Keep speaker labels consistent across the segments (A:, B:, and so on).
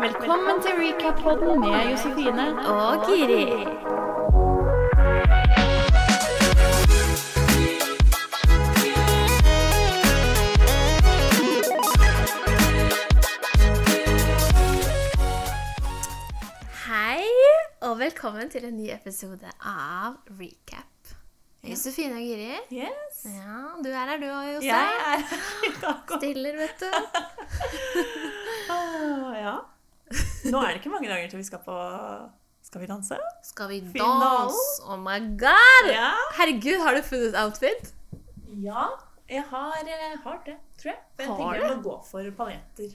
A: Velkommen til Recap-podden med Josefine.
B: og Giri. Hei, og velkommen til en ny episode av Recap. Josefine og Giri.
A: Yes.
B: Ja, du er her, du òg,
A: Jeg
B: Jostein.
A: er her i dag og
B: Stiller, vet du.
A: Åh, Ja. Nå er det ikke mange dager til vi skal på Skal vi danse?
B: Skal vi
A: Finalen.
B: danse? Oh my god!
A: Ja.
B: Herregud, har du funnet outfit?
A: Ja, jeg har, eh, har det, tror jeg. Men jeg
B: Har
A: tenker jeg må gå for paljetter.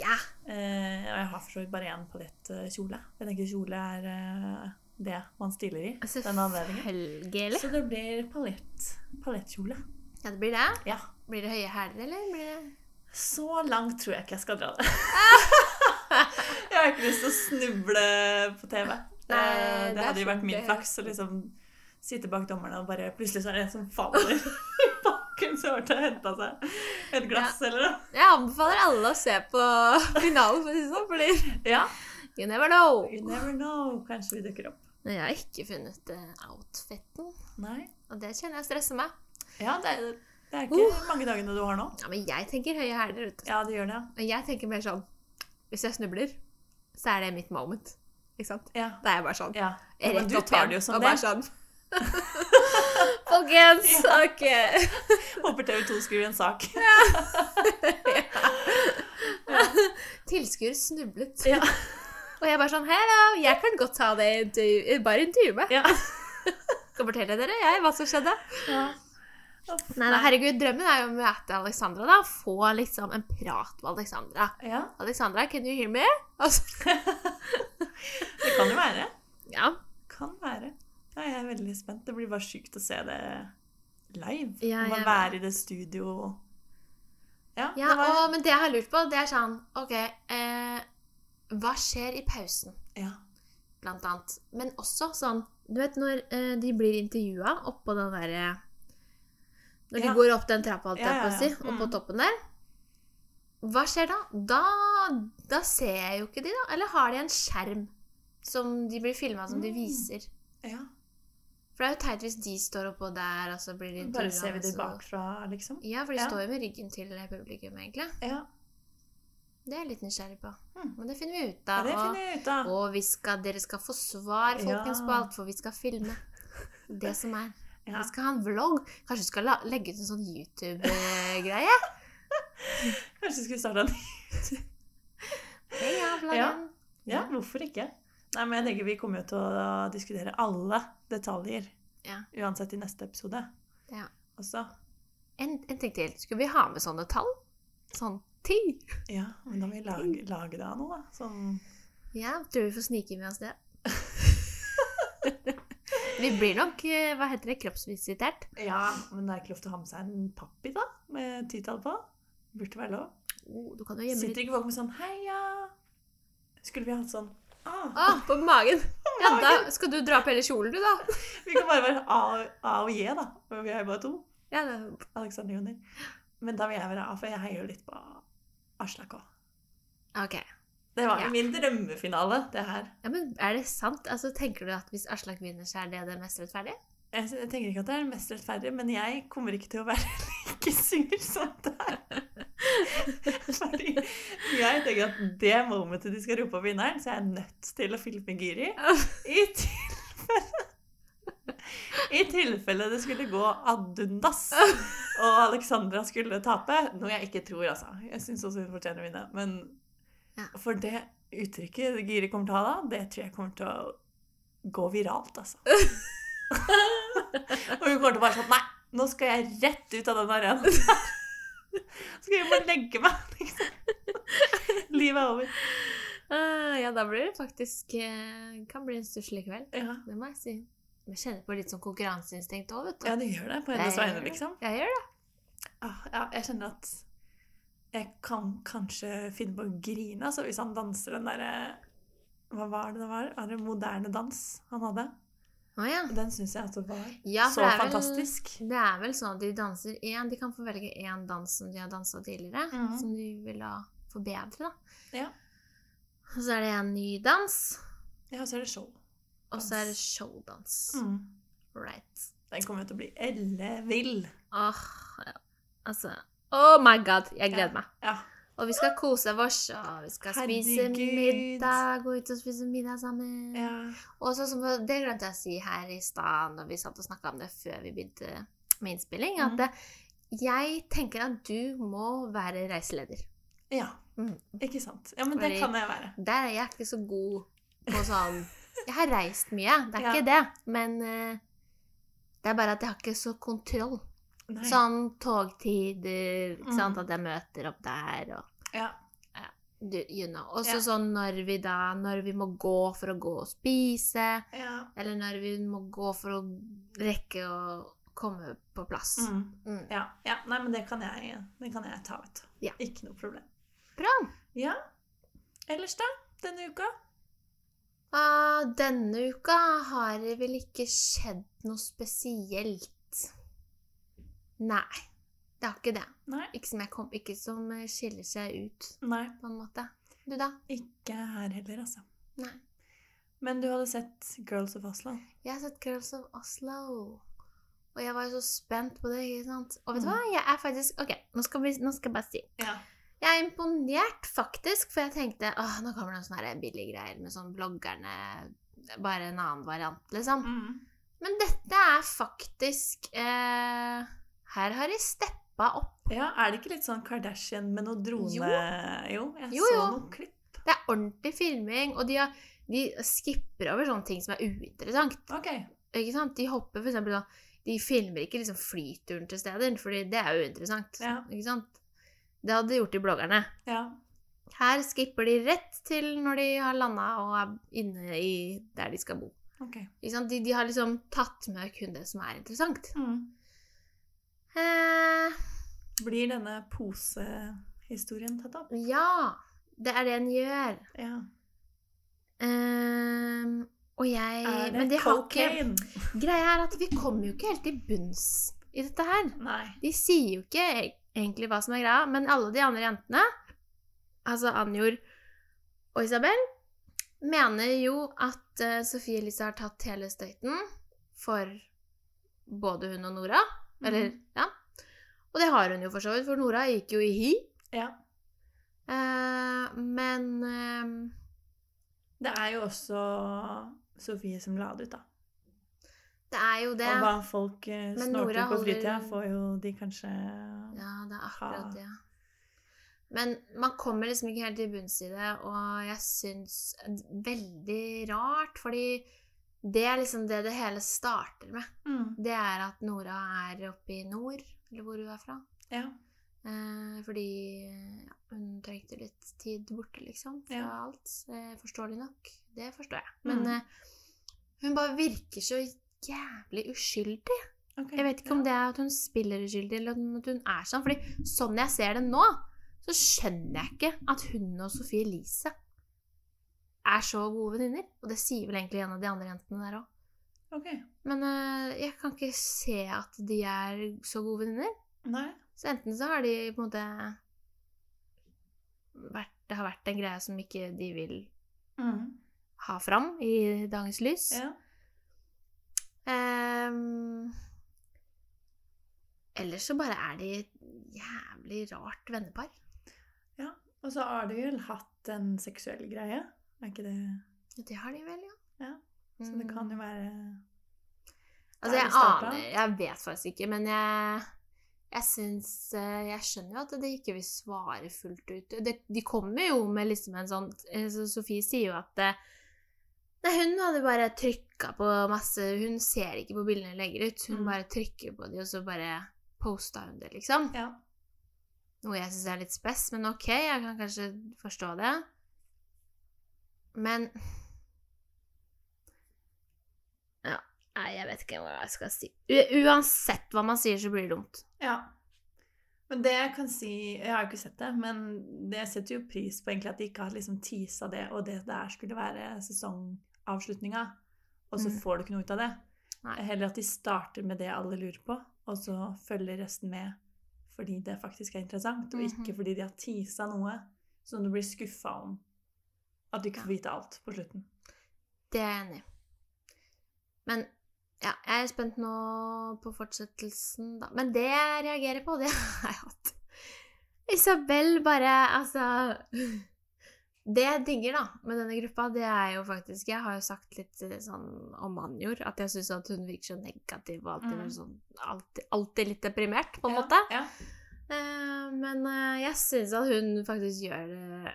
B: Ja.
A: Eh, og jeg har for så vidt bare én paljettkjole. Jeg tenker kjole er eh, det man stiller i den anledningen.
B: Selvfølgelig.
A: Så det blir paljett. Paljettkjole.
B: Ja, det blir det.
A: Ja.
B: Blir det høye hæler, eller? Blir det...
A: Så langt tror jeg ikke jeg skal dra det. jeg har ikke lyst til å snuble på TV. Det,
B: Nei, det
A: det
B: er
A: hadde jo
B: sant,
A: vært min
B: det-
A: flaks å liksom sitte bak dommerne og bare plutselig så er det en som faller i bakken som har vært og henta seg et glass eller noe.
B: Jeg anbefaler alle å se på finalen, for å si det sånn, fordi
A: Ja.
B: you never know.
A: You never know. Kanskje vi dukker opp.
B: Men jeg har ikke funnet eh, outfiten,
A: Nei.
B: og det kjenner jeg stresser meg.
A: Ja, det er, Uh. det er ikke mange dagene du har nå.
B: Ja, Men jeg tenker høye hæler. vet du.
A: Ja, det gjør det.
B: Og jeg tenker mer sånn Hvis jeg snubler, så er det mitt moment. Ikke sant?
A: Ja.
B: Da er jeg bare sånn.
A: ja. ja
B: Jeg
A: men
B: rett
A: du
B: opp
A: tar
B: igjen,
A: det jo som
B: og
A: det.
B: bare sånn. Folkens,
A: Ja.
B: ok.
A: Håper TV 2 skriver en sak.
B: Tilskuer snublet.
A: Ja.
B: Og jeg bare sånn Hello, jeg kan godt ta det. intervju- Bare intervjue meg.
A: Ja.
B: Skal fortelle dere jeg hva som skjedde.
A: ja.
B: Nei, da, herregud, drømmen er jo å møte Alexandra, da. Få liksom en prat med Alexandra.
A: ja.
B: Alexandra, can you hear me? Altså,
A: Det kan jo være.
B: ja.
A: Kan være. Ja, jeg er veldig spent. Det blir bare sjukt å se det live.
B: Ja,
A: Å bare
B: jeg-
A: være i det studio Ja,
B: ja
A: det var
B: og, men det jeg har lurt på, det er sånn OK, eh, hva skjer i pausen,
A: ja.
B: blant annet? Men også sånn Du vet når eh, de blir intervjua oppå den derre Når de
A: Ja.
B: går opp den trappa, alt
A: Ja,
B: jeg på å
A: ja,
B: si,
A: ja.
B: oppå
A: Mm.
B: toppen der. Hva skjer da? da? Da ser jeg jo ikke de, da. Eller har de en skjerm som de blir filma som de
A: Mm.
B: viser?
A: ja.
B: For det er jo teit hvis de står oppå der, og så blir de
A: Bare
B: intervjuet,
A: ser vi det
B: så-
A: bakfra, liksom.
B: Ja, for de
A: Ja.
B: står jo med ryggen til publikum, egentlig.
A: Ja,
B: Det er jeg litt nysgjerrig på.
A: Mm.
B: Men det finner vi ut
A: ja
B: av.
A: det
B: og
A: finner jeg ut av.
B: og vi skal, dere skal få svar, folkens,
A: Ja.
B: på alt, for vi skal filme. Det som er.
A: Ja.
B: Vi skal ha en vlogg. Kanskje vi skal la, legge ut en sånn YouTube-greie?
A: Kanskje vi skulle starta en
B: Heia, vloggen!
A: Ja, hvorfor ikke? Nei, men jeg tenker Vi kommer jo til å diskutere alle detaljer
B: Ja.
A: uansett i neste episode
B: Ja.
A: også.
B: En, en ting til. Skulle vi ha med sånne tall? Sånn ti?
A: Ja, men da må vi lage, lage det av noe, da. Sånn
B: Ja, tror vi får snike med oss det. vi blir nok, eh, hva heter det, kroppsvisitert.
A: Ja, men det er ikke lov til å ha med seg en pappi da, med titall på. Burde være lov.
B: Oh, du kan jo gjemme
A: Sitter
B: litt
A: ikke folk med sånn heia? Skulle vi hatt sånn ah,
B: Å, på magen! Ja, da
A: magen?
B: skal du dra på hele kjolen, du, da.
A: Vi kan bare være A, A og J, da. Men vi er jo bare to.
B: Ja, det...
A: Alexander Joner. Men da vil jeg være A, for jeg heier jo litt på Aslak òg.
B: Ok.
A: Det var
B: Ja.
A: min drømmefinale, det her.
B: Ja, men Er det sant? Altså, Tenker du at hvis Aslak vinner, så er det det mest rettferdige?
A: Jeg sy- jeg tenker ikke at det er mest rettferdig, men jeg kommer ikke til å være like sur som der. Fordi jeg tenker at det momentet de skal rope opp vinneren, så er jeg nødt til å filme Giri. I tilfelle, I tilfelle det skulle gå ad undas og Alexandra skulle tape, noe jeg ikke tror, altså. Jeg syns også hun fortjener å vinne, men
B: Ja.
A: for det uttrykket Giri kommer til å ha da, det tror jeg kommer til å gå viralt, altså. Og hun kommer til å bare sånn Nei, nå skal jeg rett ut av den arenaen. her." Så skal jeg bare legge meg. Liksom. Livet er over.
B: Ah, ja, da blir det faktisk eh, Kan bli en stusslig kveld.
A: Ja.
B: Det må jeg si. Jeg kjenner på litt sånn konkurranseinstinkt òg, vet du.
A: ja, det gjør det på hennes
B: Jeg-
A: vegne, liksom.
B: Jeg gjør det.
A: Ah, Ja, jeg kjenner at jeg kan kanskje finne på å grine altså, hvis han danser den derre Hva var det det var? Var det moderne dans han hadde?
B: Å ja.
A: Den syns jeg altså var
B: Ja,
A: så
B: for det er vel-
A: fantastisk.
B: Det er vel sånn at de danser én De kan få velge én dans som de har dansa tidligere,
A: Mhm.
B: som de vil ha forbedre, da.
A: Ja.
B: Og så er det en ny dans,
A: Ja, og så er det show.
B: og så er det
A: Dans.
B: showdans.
A: Mm.
B: Right.
A: Den kommer jo til å bli ellevill.
B: Åh, ja. altså Oh my god, jeg gleder meg.
A: Ja.
B: Og vi skal kose oss, og vi skal spise
A: Herregud.
B: middag, gå ut og spise middag sammen.
A: ja.
B: Og sånn som det glemte jeg å si her i stad når vi satt og snakka om det før vi begynte med innspilling, at
A: Mhm.
B: eh, jeg tenker at du må være reiseleder.
A: ja.
B: Mm.
A: Ikke sant. Ja, men det
B: Fordi-
A: kan jeg være.
B: Der er jeg ikke så god på sånn Jeg har reist mye, det er
A: Ja.
B: ikke det. Men eh, det er bare at jeg har ikke så kontroll.
A: Nei.
B: Sånn togtider, ikke
A: Mm.
B: sant, at jeg møter opp der og
A: Ja.
B: du, you know. Og så
A: Ja.
B: sånn når vi da Når vi må gå for å gå og spise,
A: ja.
B: eller når vi må gå for å rekke å komme på plass.
A: Mm.
B: Mm.
A: Ja, ja. Nei, men det kan jeg, det kan jeg ta, vet du.
B: Ja.
A: Ikke noe problem.
B: Bra.
A: Ja. Ellers, da? Denne uka?
B: Ah, denne uka har det vel ikke skjedd noe spesielt. Nei, det har ikke det.
A: Nei.
B: Ikke som, jeg kom, ikke som eh, skiller seg ut,
A: Nei.
B: på en måte. Du, da?
A: Ikke her heller, altså.
B: Nei.
A: Men du hadde sett Girls of Oslo?
B: Jeg har sett Girls of Oslo. Og jeg var jo så spent på det. ikke sant? Og vet
A: Mm.
B: du hva? Jeg er faktisk Ok, nå skal, vi, nå skal jeg bare si.
A: Ja.
B: Jeg er imponert, faktisk, for jeg tenkte åh, nå kommer det noen sånne her billige greier med sånn bloggerne Bare en annen variant, liksom.
A: Mm.
B: Men dette er faktisk eh, Her har de steppa opp.
A: ja. Er det ikke litt sånn Kardashian med noe drone
B: Jo.
A: Jo, jeg
B: Jo,
A: så
B: jo.
A: noen klipp.
B: Det er ordentlig filming, og de, har, de skipper over sånne ting som er uinteressant.
A: Ok.
B: Ikke sant? De hopper for eksempel da De filmer ikke liksom flyturen til steder, fordi det er jo interessant.
A: Ja.
B: Ikke sant? Det hadde de gjort i bloggerne.
A: Ja.
B: Her skipper de rett til når de har landa og er inne i der de skal bo.
A: Ok.
B: Ikke sant? De, de har liksom tatt med kun det som er interessant.
A: Mm.
B: Eh,
A: Blir denne posehistorien tatt opp?
B: ja, det er det en gjør.
A: Ja.
B: Eh, og jeg
A: Er det
B: Men de har ikke
A: cocaine?
B: Greia er at vi kommer jo ikke helt til bunns i dette her.
A: Nei.
B: De sier jo ikke e- egentlig hva som er greia, men alle de andre jentene, altså Anjor og Isabel, mener jo at eh, Sofie Elise har tatt hele støyten for både hun og Nora. Eller,
A: Mhm.
B: ja. Og det har hun jo for så vidt, for Nora gikk jo i hi.
A: Ja.
B: Eh, men eh,
A: Det er jo også Sofie som la det ut, da.
B: det er jo det.
A: Og hva folk eh,
B: Men
A: snorter
B: Nora
A: på fritida,
B: holder-
A: får jo de kanskje
B: Ja, det er
A: Ha.
B: akkurat det. Men man kommer liksom ikke helt til bunns i det, og jeg syns Veldig rart, fordi det er liksom det det hele starter med.
A: Mm.
B: Det er at Nora er oppe i nord, eller hvor hun er fra.
A: Ja.
B: Eh, fordi ja, hun trengte litt tid borte, liksom, fra
A: Ja.
B: alt. Eh, forståelig nok. Det forstår jeg. Men
A: Mm.
B: eh, hun bare virker så jævlig uskyldig.
A: ok.
B: Jeg vet ikke om det er at hun spiller uskyldig, eller om at hun er sånn. Fordi sånn jeg ser det nå, så skjønner jeg ikke at hun og Sofie Elise er så gode venninner. Og det sier vel egentlig en av de andre jentene der òg.
A: Ok.
B: Men eh, jeg kan ikke se at de er så gode venninner.
A: Nei.
B: Så enten så har de på en måte vært, Det har vært en greie som ikke de vil
A: Mm.
B: ha fram i dagens lys.
A: Ja.
B: Ehm, ellers så bare er de et jævlig rart vennepar.
A: Og så har de vel hatt en seksuell greie. Er ikke det
B: Det har de vel, ja. Mm.
A: Ja, Så det kan jo være er
B: Altså, jeg
A: det starta?
B: aner Jeg vet faktisk ikke, men jeg jeg syns eh, Jeg skjønner jo at de ikke vil svare fullt ut. Det, de kommer jo med liksom en sånn eh, så Sofie sier jo at eh, Nei, hun hadde bare trykka på masse Hun ser ikke på bildene hun legger ut. Hun
A: Mm.
B: bare trykker på de, og så bare posta hun det, liksom.
A: Ja.
B: Noe jeg syns er litt spess, men ok, jeg kan kanskje forstå det. Men Ja, nei, jeg vet ikke hva jeg skal si. U uansett hva man sier, så blir det dumt.
A: ja. Men det jeg kan si Jeg har jo ikke sett det, men det jeg setter jo pris på egentlig at de ikke har liksom teasa det, og det der skulle være sesongavslutninga, og så
B: Mm.
A: får du ikke noe ut av det.
B: Nei.
A: Heller at de starter med det alle lurer på, og så følger resten med fordi det faktisk er interessant, og
B: Mhm.
A: ikke fordi de har teasa noe som du blir skuffa om. At du ikke får vite alt på slutten.
B: Det er jeg enig i. Men ja, jeg er spent nå på fortsettelsen, da. Men det jeg reagerer på, det har jeg hatt. Isabel bare Altså Det jeg digger da, med denne gruppa, det er jo faktisk Jeg har jo sagt litt eh, sånn om Anjor, at jeg syns at hun virker så negativ og alltid,
A: Mm.
B: var sånn, alltid, alltid litt deprimert, på en
A: ja,
B: måte.
A: Ja.
B: Eh, Men eh, jeg syns at hun faktisk gjør det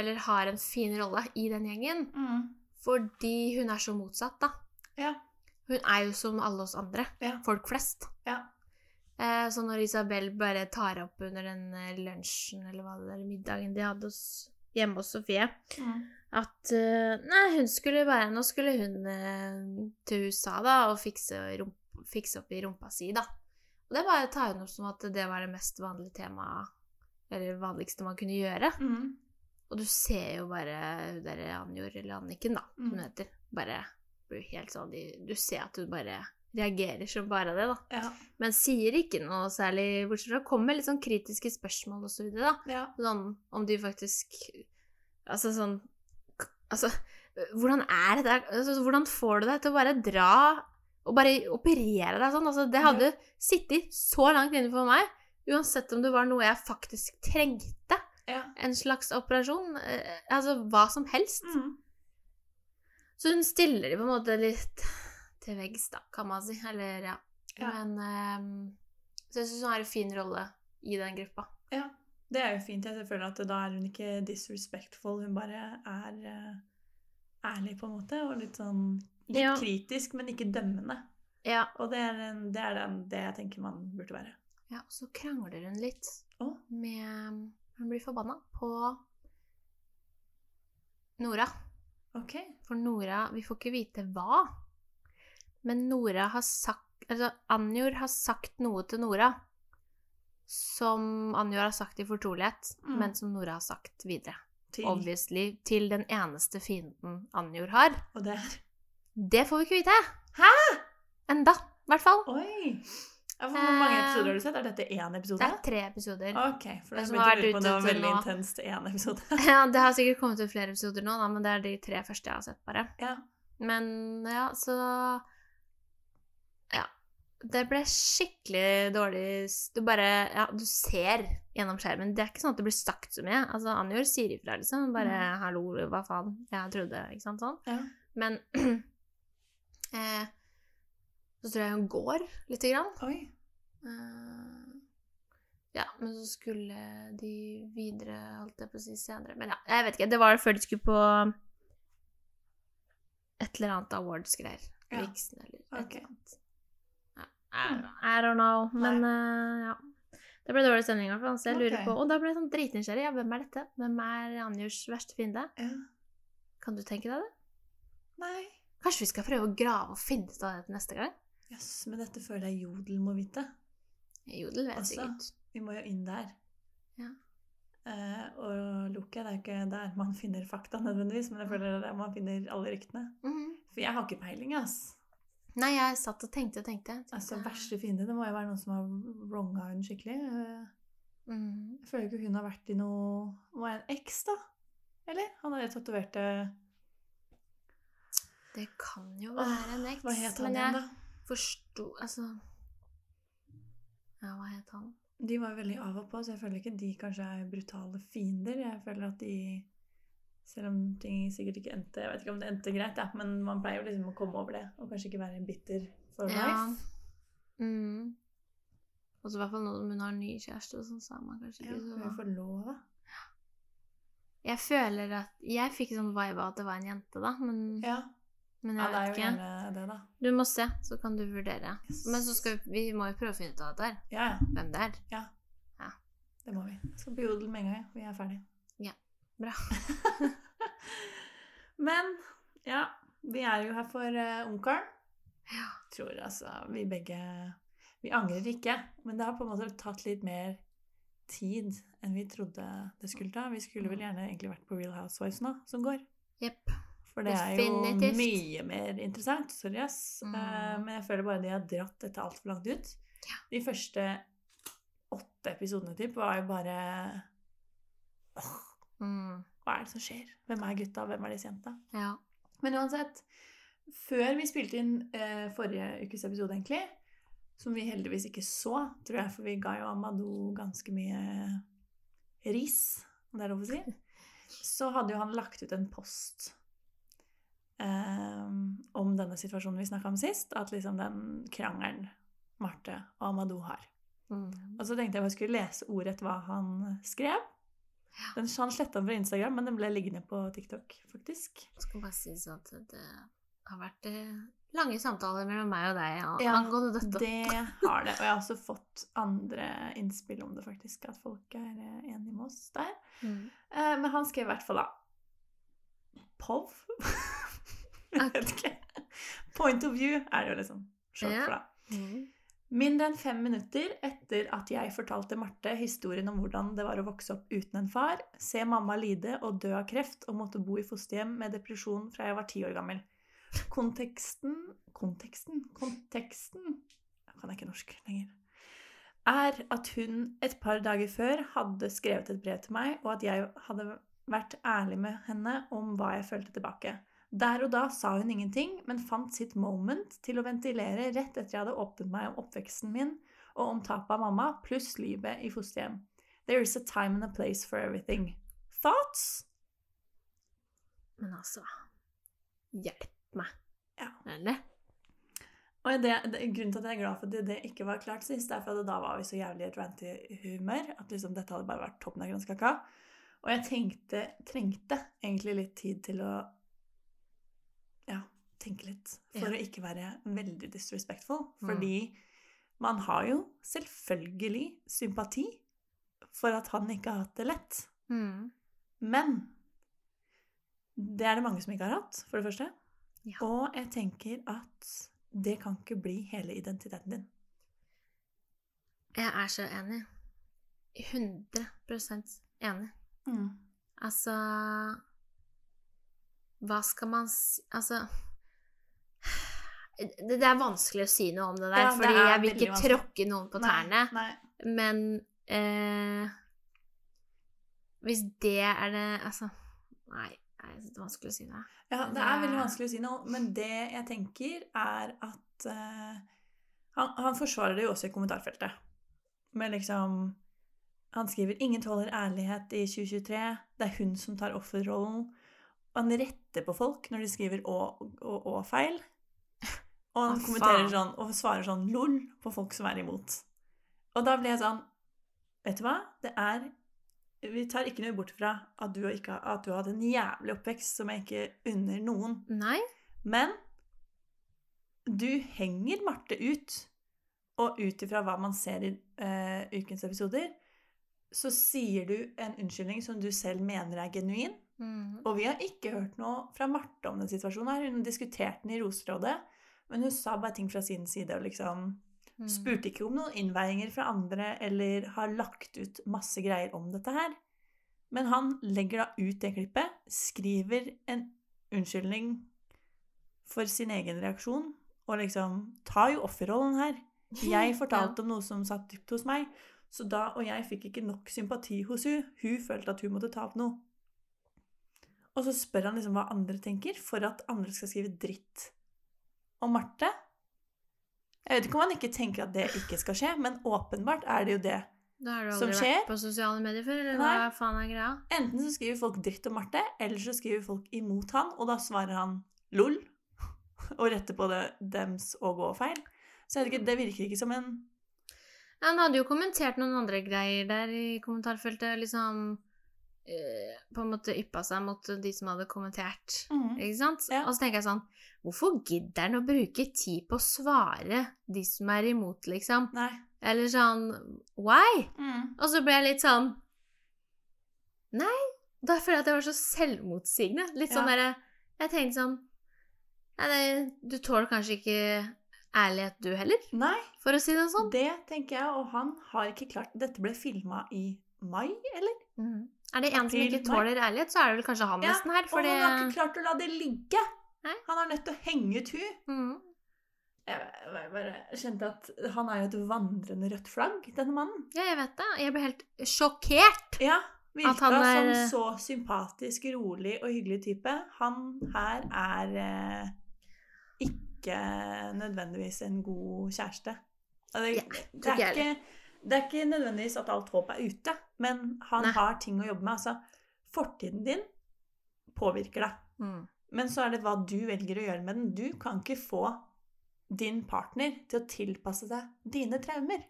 B: Eller har en fin rolle i den gjengen.
A: Mm.
B: Fordi hun er så motsatt, da.
A: Ja.
B: Hun er jo som alle oss andre.
A: Ja.
B: Folk flest.
A: Ja.
B: Eh, Så når Isabel bare tar opp under den eh, lunsjen eller hva det der middagen de hadde hos, hjemme hos Sofie,
A: Mm.
B: at eh, nei, hun skulle bare, nå skulle hun eh, til USA da, og fikse, rump, fikse opp i rumpa si, da. Og det bare tar hun opp som at det var det mest vanlige temaet, eller vanligste man kunne gjøre.
A: Mm.
B: Og du ser jo bare hun der Anjor, eller Anniken, da, som
A: Mm.
B: hun heter, bare blir helt sånn i- Du ser at hun bare reagerer som bare det, da.
A: ja.
B: Men sier ikke noe særlig, bortsett fra kommer litt sånn kritiske spørsmål og så videre, da.
A: ja.
B: Sånn om de faktisk Altså sånn k- Altså, hvordan er det der altså, Hvordan får du deg til å bare dra og bare operere deg sånn? Altså, det hadde sittet så langt inne for meg, uansett om det var noe jeg faktisk trengte.
A: ja.
B: En slags operasjon. eh, Altså hva som helst.
A: Mm.
B: Så hun stiller de på en måte litt til veggs, da, kan man si. Eller, ja.
A: Ja.
B: Men ehm, Så jeg syns hun har en fin rolle i den gruppa.
A: ja. Det er jo fint. Jeg føler at da er hun ikke disrespectful. Hun bare er eh, ærlig, på en måte, og litt sånn litt
B: Ja.
A: kritisk, men ikke dømmende.
B: Ja,
A: Og det er, en, det, er den, det jeg tenker man burde være.
B: ja og så krangler hun litt
A: Å?
B: med Hun blir forbanna på Nora.
A: Ok.
B: For Nora Vi får ikke vite hva. Men Nora har sagt Altså, Anjor har sagt noe til Nora som Anjor har sagt i fortrolighet,
A: Mm.
B: men som Nora har sagt videre.
A: Til.
B: obviously til den eneste fienden Anjor har.
A: Og det er
B: Det får vi ikke vite.
A: Hæ?
B: Enda, i hvert fall.
A: Oi! Ja, for hvor mange
B: Eh,
A: episoder har du sett? Er dette én
B: Det
A: episode?
B: er tre episoder.
A: Ok, for da
B: Den som
A: begynte
B: har
A: jeg å lure
B: vært
A: på om det
B: ute
A: var
B: til
A: veldig
B: nå.
A: intenst én episode.
B: Ja, det har sikkert kommet ut flere episoder nå, da, men det er de tre første jeg har sett, bare.
A: Ja.
B: Men ja, så Ja. Det ble skikkelig dårlig s- Du bare Ja, du ser gjennom skjermen. Det er ikke sånn at det blir sagt så mye. Altså, Anjor sier ifra, liksom. Bare
A: Mm.
B: 'hallo, hva faen', jeg trodde Ikke sant, sånn.
A: Ja.
B: Men eh, så tror jeg hun går lite grann.
A: Oi.
B: Eh, ja, men så skulle de videre, holdt jeg på å si, senere. Men ja, jeg vet ikke. Det var før de skulle på et eller annet awards-greier.
A: Ja.
B: Vixen eller et
A: Ok. Hmm.
B: eller annet. Ja, I, I don't know. Men eh, ja. Det ble dårlig stemning, i hvert fall. Så jeg lurer
A: Ok.
B: på Og da ble jeg sånn dritnysgjerrig. Ja, hvem er dette? Hvem er Anjurs verste fiende?
A: Ja.
B: Kan du tenke deg det?
A: Nei.
B: Kanskje vi skal prøve å grave og finne ut av det til neste gang?
A: Jøss, men dette føler jeg Jodel må vite.
B: Jodel vet
A: Altså.
B: sikkert.
A: Vi må jo inn der.
B: Ja.
A: Eh, og Loke, det er ikke der man finner fakta nødvendigvis, men jeg føler det er der man finner alle ryktene.
B: Mhm.
A: For jeg har ikke peiling, ass.
B: Nei, jeg satt og tenkte og tenkte. tenkte
A: Altså, Verste fiende, det må jo være noen som har wronga hun skikkelig. Eh,
B: Mhm.
A: Jeg føler ikke hun har vært i noe Må være en eks, da? Eller? Han er tatoverte
B: Det kan jo
A: Åh,
B: være en eks.
A: Hva het han
B: men
A: igjen,
B: jeg
A: da?
B: forsto Altså Ja, hva het han?
A: De var veldig av og på, så jeg føler ikke de kanskje er brutale fiender. Jeg føler at de Selv om ting sikkert ikke endte Jeg vet ikke om det endte greit, ja, men man pleier jo liksom å komme over det. Og kanskje ikke være bitter for
B: Ja.
A: life.
B: Mm. Og så i hvert fall nå som hun har ny kjæreste, og sånn, så er Mm. man kanskje
A: Ja,
B: ikke
A: hun er
B: så
A: forlova.
B: Jeg føler at Jeg fikk sånn vibe av at det var en jente, da, men,
A: Ja.
B: men
A: ja,
B: jeg
A: det er
B: vet
A: jo
B: ikke.
A: gjerne det, da.
B: Du må se, så kan du vurdere.
A: Yes.
B: Men så skal vi, vi må jo prøve å finne ut av dette her.
A: Ja, ja.
B: Hvem det er.
A: Det må vi. Jeg skal på jodel med en gang, jeg. Vi er ferdig.
B: Ja, bra.
A: men ja, vi er jo her for eh, ungkaren.
B: Ja.
A: Tror altså vi begge Vi angrer ikke, men det har på en måte tatt litt mer tid enn vi trodde det skulle ta. Vi skulle
B: Mm.
A: vel gjerne egentlig vært på Real Housewives nå, som går.
B: Jepp.
A: For det er jo
B: Definitivt.
A: mye mer interessant. Sorry, ass.
B: Mm.
A: Eh, men jeg føler bare de har dratt dette altfor langt ut. De første åtte episodene typ var jo bare Åh,
B: Mm.
A: Hva er det som skjer? Hvem er gutta? Hvem er disse jenta?
B: Ja.
A: Men uansett, før vi spilte inn eh, forrige ukes episode, egentlig, som vi heldigvis ikke så, tror jeg, for vi ga jo Amadou ganske mye ris, om det er lov å si, så hadde jo han lagt ut en post eh, om denne situasjonen vi snakka om sist, at liksom den krangelen Marte og Amadou har.
B: Mm.
A: Og så tenkte jeg bare skulle lese ordrett hva han skrev. Den, han sletta den fra Instagram, men den ble liggende på TikTok, faktisk.
B: Jeg skal bare si sånn at det har vært eh, lange samtaler mellom meg og deg ja,
A: Ja,
B: angående dette.
A: Det har det. Og jeg har også fått andre innspill om det, faktisk. At folk er eh, enige med oss der.
B: Mm.
A: Eh, Men han skrev i hvert fall da POV? Jeg vet ikke. Point of view er det jo liksom short
B: Ja.
A: for, da.
B: Mm.
A: Mindre enn fem minutter etter at jeg fortalte Marte historien om hvordan det var å vokse opp uten en far, se mamma lide og dø av kreft og måtte bo i fosterhjem med depresjon fra jeg var ti år gammel. Konteksten Konteksten? Konteksten Jeg kan ikke norsk lenger. Er at hun et par dager før hadde skrevet et brev til meg, og at jeg hadde vært ærlig med henne om hva jeg følte tilbake. Der og da sa hun ingenting, men fant sitt moment til å ventilere rett etter jeg hadde åpnet meg om oppveksten min og om tapet av mamma, pluss livet i fosterhjem. There is a time and a place for everything. Thoughts?
B: Men altså Hjelp meg.
A: Ja.
B: Eller?
A: Og det, det, grunnen til at jeg er glad for at det, det ikke var klart sist, er for at da var vi så jævlig i et ranty humør at liksom dette hadde bare vært toppen av granskaka. Og jeg tenkte, trengte egentlig litt tid til å ja, tenke litt. For
B: Ja.
A: å ikke være veldig disrespectful.
B: Mm.
A: Fordi man har jo selvfølgelig sympati for at han ikke har hatt det lett.
B: Mm.
A: Men det er det mange som ikke har hatt, for det første.
B: Ja.
A: Og jeg tenker at det kan ikke bli hele identiteten din.
B: Jeg er så enig. 100 enig. Altså Hva skal man si Altså det, det er vanskelig å si noe om det der,
A: Ja, det
B: fordi
A: er
B: jeg vil
A: veldig
B: ikke
A: vanskelig.
B: tråkke noen på tærne.
A: Nei, nei.
B: Men eh, hvis det er det Altså Nei, nei det er vanskelig å si det.
A: Ja, det er
B: Det-
A: veldig vanskelig å si noe, men det jeg tenker, er at eh, han, han forsvarer det jo også i kommentarfeltet. Men liksom Han skriver 'Ingen tåler ærlighet i 2023'. Det er hun som tar offerrollen. Og han retter på folk når de skriver å- og og feil Og han
B: Hva
A: kommenterer
B: faen?
A: sånn, og svarer sånn 'lol' på folk som er imot. Og da ble jeg sånn Vet du hva? Det er Vi tar ikke noe bort fra at du, ikke, at du har hatt en jævlig oppvekst som jeg ikke unner noen.
B: Nei?
A: Men du henger Marte ut, og ut ifra hva man ser i eh, ukens episoder, så sier du en unnskyldning som du selv mener er genuin.
B: Mm.
A: Og vi har ikke hørt noe fra Marte om den situasjonen her. Hun diskuterte den i Roserådet, men hun sa bare ting fra sin side og liksom
B: Mm.
A: Spurte ikke om noen innveiinger fra andre eller har lagt ut masse greier om dette her. Men han legger da ut det klippet, skriver en unnskyldning for sin egen reaksjon, og liksom tar jo offerrollen her. Jeg fortalte om noe som satt dypt hos meg, så da og jeg fikk ikke nok sympati hos hun. Hun følte at hun måtte ta opp noe. Og så spør han liksom hva andre tenker, for at andre skal skrive dritt om Marte. Jeg vet ikke om han ikke tenker at det ikke skal skje, men åpenbart er det jo det.
B: Da har du
A: som
B: aldri
A: skjer?
B: vært på sosiale medier før, eller
A: Nei.
B: hva faen er greia?
A: Enten så skriver folk dritt om Marte, eller så skriver folk imot han, og da svarer han lol, og retter på det dems og gå feil. Så jeg vet ikke, det virker ikke som en
B: Han hadde jo kommentert noen andre greier der i kommentarfeltet, liksom eh, På en måte yppa seg mot de som hadde kommentert,
A: Mm.
B: ikke sant?
A: Ja.
B: Og så tenker jeg sånn Hvorfor gidder han å bruke tid på å svare de som er imot, liksom?
A: Nei.
B: Eller sånn Why? Og så ble jeg litt sånn Nei. Da føler jeg at jeg var så selvmotsigende. Litt sånn
A: Ja.
B: derre Jeg tenkte sånn Nei, det, du tåler kanskje ikke ærlighet, du heller,
A: Nei,
B: for å si det sånn.
A: det tenker jeg, og han har ikke klart Dette ble filma i mai, eller?
B: Er det en som
A: April,
B: ikke
A: mai.
B: tåler ærlighet, så er det vel kanskje han
A: Mm. Ja,
B: nesten her, for
A: Og
B: det
A: han har ikke klart å la det ligge!
B: Nei.
A: Han er nødt til å henge ut hun.
B: mm.
A: Jeg jeg bare kjente at han er jo et vandrende rødt flagg, denne mannen.
B: Ja, jeg vet det. Jeg ble helt sjokkert.
A: Ja, Virka
B: At han er- eh,
A: som så sympatisk, rolig og hyggelig type. Han her er eh, ikke nødvendigvis en god kjæreste. Og Det,
B: Ja,
A: det,
B: tror ikke
A: er
B: jeg
A: ikke, det er ikke nødvendigvis at alt håp er ute, men han
B: Nei.
A: har ting å jobbe med. Altså, fortiden din påvirker deg.
B: Mm.
A: Men så er det hva du velger å gjøre med den. Du kan ikke få din partner til å tilpasse seg dine traumer.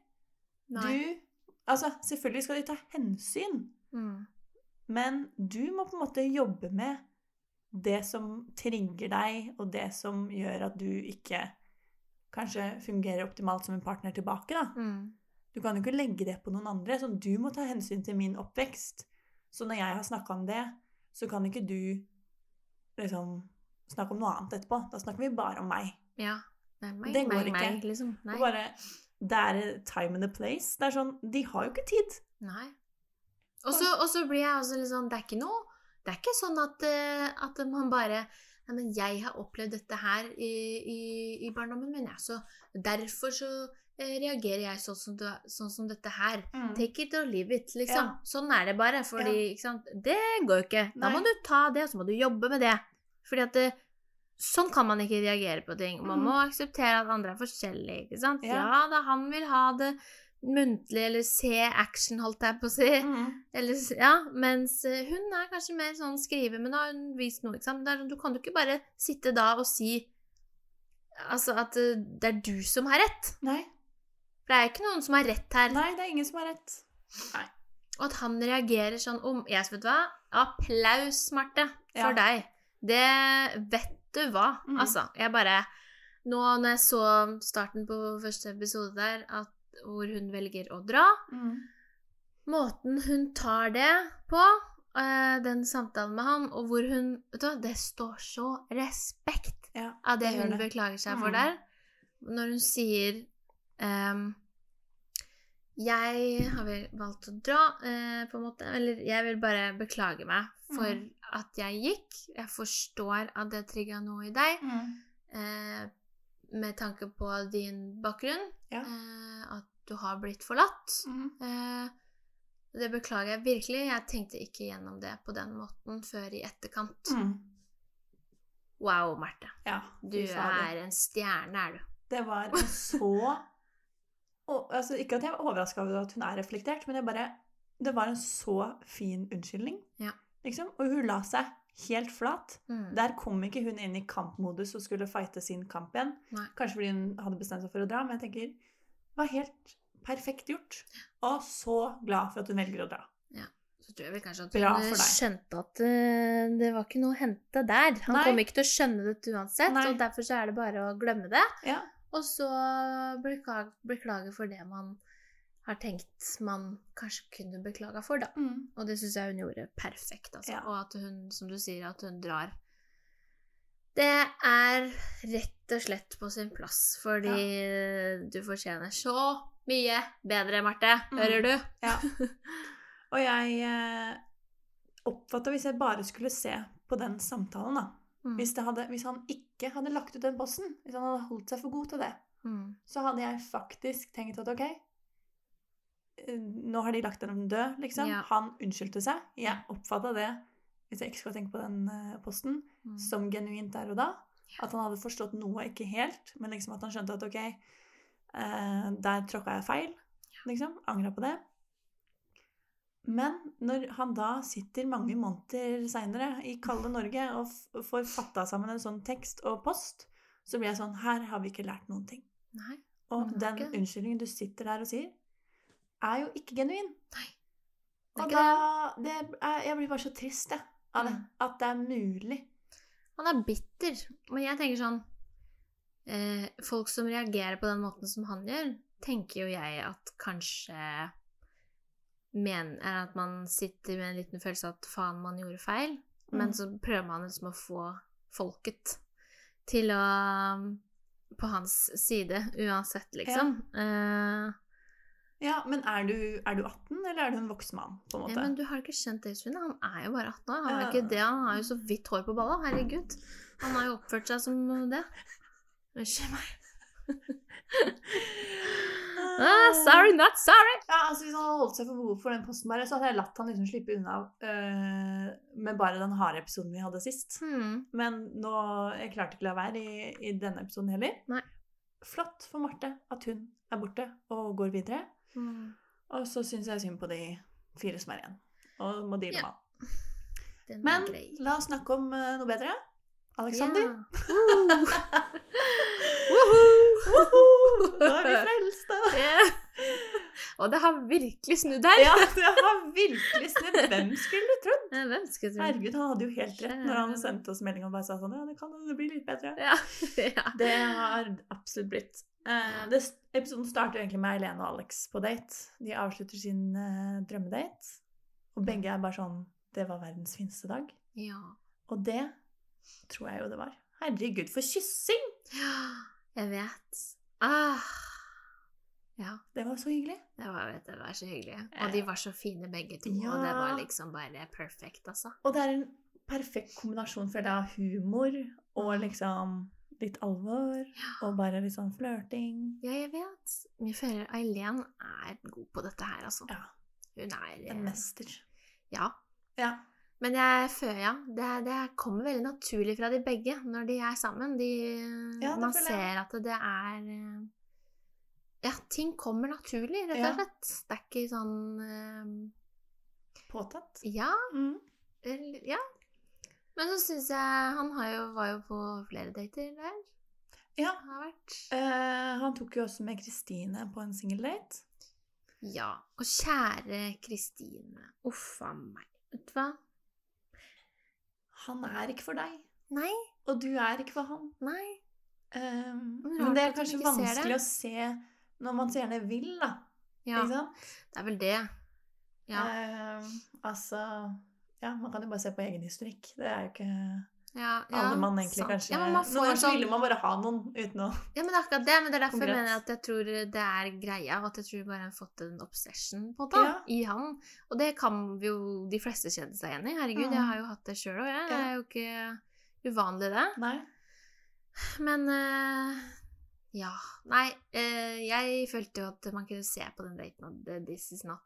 B: Nei.
A: Du, altså, selvfølgelig skal de ta hensyn,
B: Mm.
A: men du må på en måte jobbe med det som trigger deg, og det som gjør at du ikke kanskje fungerer optimalt som en partner tilbake. da.
B: Mm.
A: Du kan jo ikke legge det på noen andre. Sånn, du må ta hensyn til min oppvekst. Så når jeg har snakka om det, så kan ikke du liksom snakke om noe annet etterpå. Da snakker vi bare om meg.
B: Ja. Nei, meg,
A: Det går
B: meg,
A: ikke.
B: Meg, liksom. Nei.
A: Og bare, det er time and a place. Det er sånn, De har jo ikke tid.
B: Nei. Og så, og så blir jeg også litt sånn Det er ikke noe Det er ikke sånn at, eh, at man bare Nei, men jeg har opplevd dette her i, i, i barndommen min, jeg. Så derfor så eh, reagerer jeg sånn som, du, sånn som dette her. Take it or leave it, liksom.
A: Mm. Ja.
B: Sånn er det bare. Fordi ikke sant? Det går jo ikke. Da må
A: Nei.
B: du ta det, og så må du jobbe med det. Fordi at det, sånn kan man ikke reagere på ting. Man
A: Mhm.
B: må akseptere at andre er forskjellige, ikke sant.
A: Ja.
B: Ja, da han vil ha det muntlig, eller se action, holdt jeg på å si.
A: Mm.
B: Eller, s- ja, mens eh, hun er kanskje mer sånn skrive, men da har hun vist noe, ikke sant. Det er sånn, du kan jo ikke bare sitte da og si Altså at eh, det er du som har rett.
A: Nei.
B: For det er jo ikke noen som har rett her.
A: Nei, det er ingen som har rett.
B: Og at han reagerer sånn om Jeg vet du hva? Applaus, Marte,
A: Ja.
B: for deg. Det vet du hva.
A: Mm.
B: Altså, jeg bare Nå når jeg så starten på første episode der, at, hvor hun velger å dra Måten hun tar det på, eh, den samtalen med han, og hvor hun Vet du hva, det står så respekt
A: Ja,
B: av det,
A: det gjør
B: hun
A: det.
B: beklager seg
A: Mm.
B: for der. Når hun sier ehm, Jeg har vel valgt å dra, eh, på en måte. Eller jeg vil bare beklage meg for
A: Mm.
B: at jeg gikk. Jeg forstår at det trigga noe i deg
A: Mm.
B: eh, med tanke på din bakgrunn.
A: Ja.
B: Eh, at du har blitt forlatt. Eh, det beklager jeg virkelig. Jeg tenkte ikke gjennom det på den måten før i
A: Mm.
B: etterkant. Wow, Marte.
A: Ja,
B: Du
A: fy fader.
B: er en stjerne, er du.
A: Det var en så og, altså, Ikke at jeg var overraska over at hun er reflektert, men jeg bare, det var en så fin unnskyldning.
B: Ja.
A: Liksom. Og hun la seg helt flat.
B: Mm.
A: Der kom ikke hun inn i kampmodus og skulle fighte sin kamp igjen.
B: Nei.
A: Kanskje fordi hun hadde bestemt seg for å dra, men jeg tenker det var helt perfekt gjort. Og så glad for at hun velger å dra.
B: Så tror jeg vel kanskje at
A: Bra
B: hun
A: for deg.
B: eh, skjønte at eh, det var ikke noe å hente der. Han
A: Nei.
B: kommer ikke til å skjønne dette uansett,
A: Nei.
B: og derfor så er det bare å glemme det.
A: Ja.
B: Og så beklage, beklage for det man har tenkt man kanskje kunne beklaga for, da.
A: Mm.
B: Og det syns jeg hun gjorde perfekt, altså.
A: Ja.
B: Og at hun, som du sier, at hun drar. Det er rett og slett på sin plass, fordi du fortjener så mye bedre, Marte.
A: Mm.
B: Hører du?
A: Og jeg eh, oppfatta hvis jeg bare skulle se på den samtalen, da
B: Mm.
A: hvis, det hadde, hvis han ikke hadde lagt ut den posten, hvis han hadde holdt seg for god til det,
B: Mm.
A: så hadde jeg faktisk tenkt at ok eh, Nå har de lagt den død, liksom.
B: Ja.
A: Han unnskyldte seg. Jeg oppfatta det, hvis jeg ikke skal tenke på den eh, posten,
B: Mm.
A: som genuint der og da. At han hadde forstått noe, ikke helt, men liksom at han skjønte at ok, eh, der tråkka jeg feil. Liksom. Angra på det. Men når han da sitter mange måneder seinere i kalde Norge og f får fatta sammen en sånn tekst og post, så blir jeg sånn Her har vi ikke lært noen ting.
B: Nei.
A: Og
B: Men det er
A: den
B: ikke det.
A: unnskyldningen du sitter der og sier, er jo ikke genuin.
B: Nei. Det er
A: Og
B: ikke det.
A: da det er, Jeg blir bare så trist, jeg, av det.
B: Mm.
A: At det er mulig.
B: Han er bitter. Men jeg tenker sånn eh, Folk som reagerer på den måten som han gjør, tenker jo jeg at kanskje mener at man sitter med en liten følelse av at faen, man gjorde feil.
A: Mm.
B: Men så prøver man liksom å få folket til å På hans side, uansett, liksom. Eh,
A: Ja, men er du, er du 18, eller er du en voksen mann? på en
B: Nei,
A: måte?
B: men du har ikke skjønt det, Sune. Han er jo bare 18 år. Han, er
A: Ja.
B: ikke det. han har jo så vidt hår på balla. Herregud. Han har jo oppført seg som det. Unnskyld meg. Ah, sorry, not sorry!
A: Ja, altså Hvis han hadde holdt seg for god for den posten, bare, så hadde jeg latt han liksom slippe unna øh, med bare den harde episoden vi hadde sist.
B: Hmm.
A: Men nå, jeg klarte ikke å la være i, i denne episoden heller.
B: Nei.
A: Flott for Marte at hun er borte og går videre.
B: Hmm.
A: Og så syns jeg synd på de fire som er igjen. Og må deale
B: Ja.
A: med alt.
B: Den
A: Men
B: er grei.
A: la oss snakke om eh, noe bedre. Alexander. Woho! Nå er vi frelste!
B: Ja. Og det har virkelig snudd her.
A: Ja, det har virkelig snudd. Hvem skulle trodd?
B: Eh, Hvem skulle tro
A: Herregud, han hadde jo helt rett når han sendte oss melding og bare sa sånn Ja, det kan hende det blir litt bedre.
B: Ja. ja.
A: Det har absolutt blitt. Eh, det, episoden starter egentlig med Helene og Alex på date. De avslutter sin eh, drømmedate. Og begge er bare sånn Det var verdens fineste dag.
B: ja.
A: Og det tror jeg jo det var. Herregud, for kyssing!
B: Ja, jeg vet. Ah. Ja,
A: Det var så hyggelig.
B: det var, vet du, det var så hyggelig.
A: Eh.
B: Og de var så fine begge to,
A: Ja.
B: og det var liksom bare perfekt, altså.
A: Og det er en perfekt kombinasjon føler jeg, av humor og liksom litt alvor. Og bare litt sånn flørting.
B: Ja, jeg vet. Vi føler Eileen er god på dette her, altså.
A: Ja.
B: Hun er eh,
A: En mester.
B: Ja.
A: Ja.
B: Men jeg føler, ja, det, det kommer veldig naturlig fra de begge når de er sammen. De,
A: Ja, det
B: man
A: føler jeg.
B: ser at det er eh, Ja, ting kommer naturlig, rett
A: Ja.
B: og slett. Det er ikke sånn
A: Påtatt.
B: eh, Ja,
A: Mm.
B: Eller- Ja. Men så syns jeg Han har jo, var jo på flere dater der.
A: Ja.
B: Har vært.
A: Eh, han tok jo også med Kristine på en singeldate.
B: Ja. Og kjære Kristine. Uff a meg. Vet du hva?
A: Han er ikke for deg,
B: Nei.
A: og du er ikke for han.
B: Nei.
A: Eh,
B: Men
A: men det
B: rart
A: er
B: at
A: kanskje
B: hun ikke ser
A: vanskelig
B: det.
A: å se når man så gjerne vil, da.
B: Ja,
A: Ikke
B: det
A: sant?
B: er vel det. Ja.
A: Eh, altså Ja, man kan jo bare se på egen historikk. Det er jo ikke
B: ja, ja
A: alle man egentlig
B: sant.
A: kanskje
B: ja, men man
A: Noen
B: får en
A: ganger så
B: sånn,
A: ville man bare ha noen uten å
B: ja, men det er akkurat det. Men det er derfor jeg
A: Konkurrent.
B: mener at jeg tror det er greia. og At jeg tror bare han har fått en obsession på det,
A: Ja.
B: i han. Og det kan jo de fleste kjenne seg igjen i. Herregud,
A: Mm.
B: jeg har jo hatt det sjøl òg, jeg. Det er jo ikke uvanlig, det.
A: Nei.
B: Men eh, ja. Nei, eh, jeg følte jo at man kunne se på den daten at det- this is not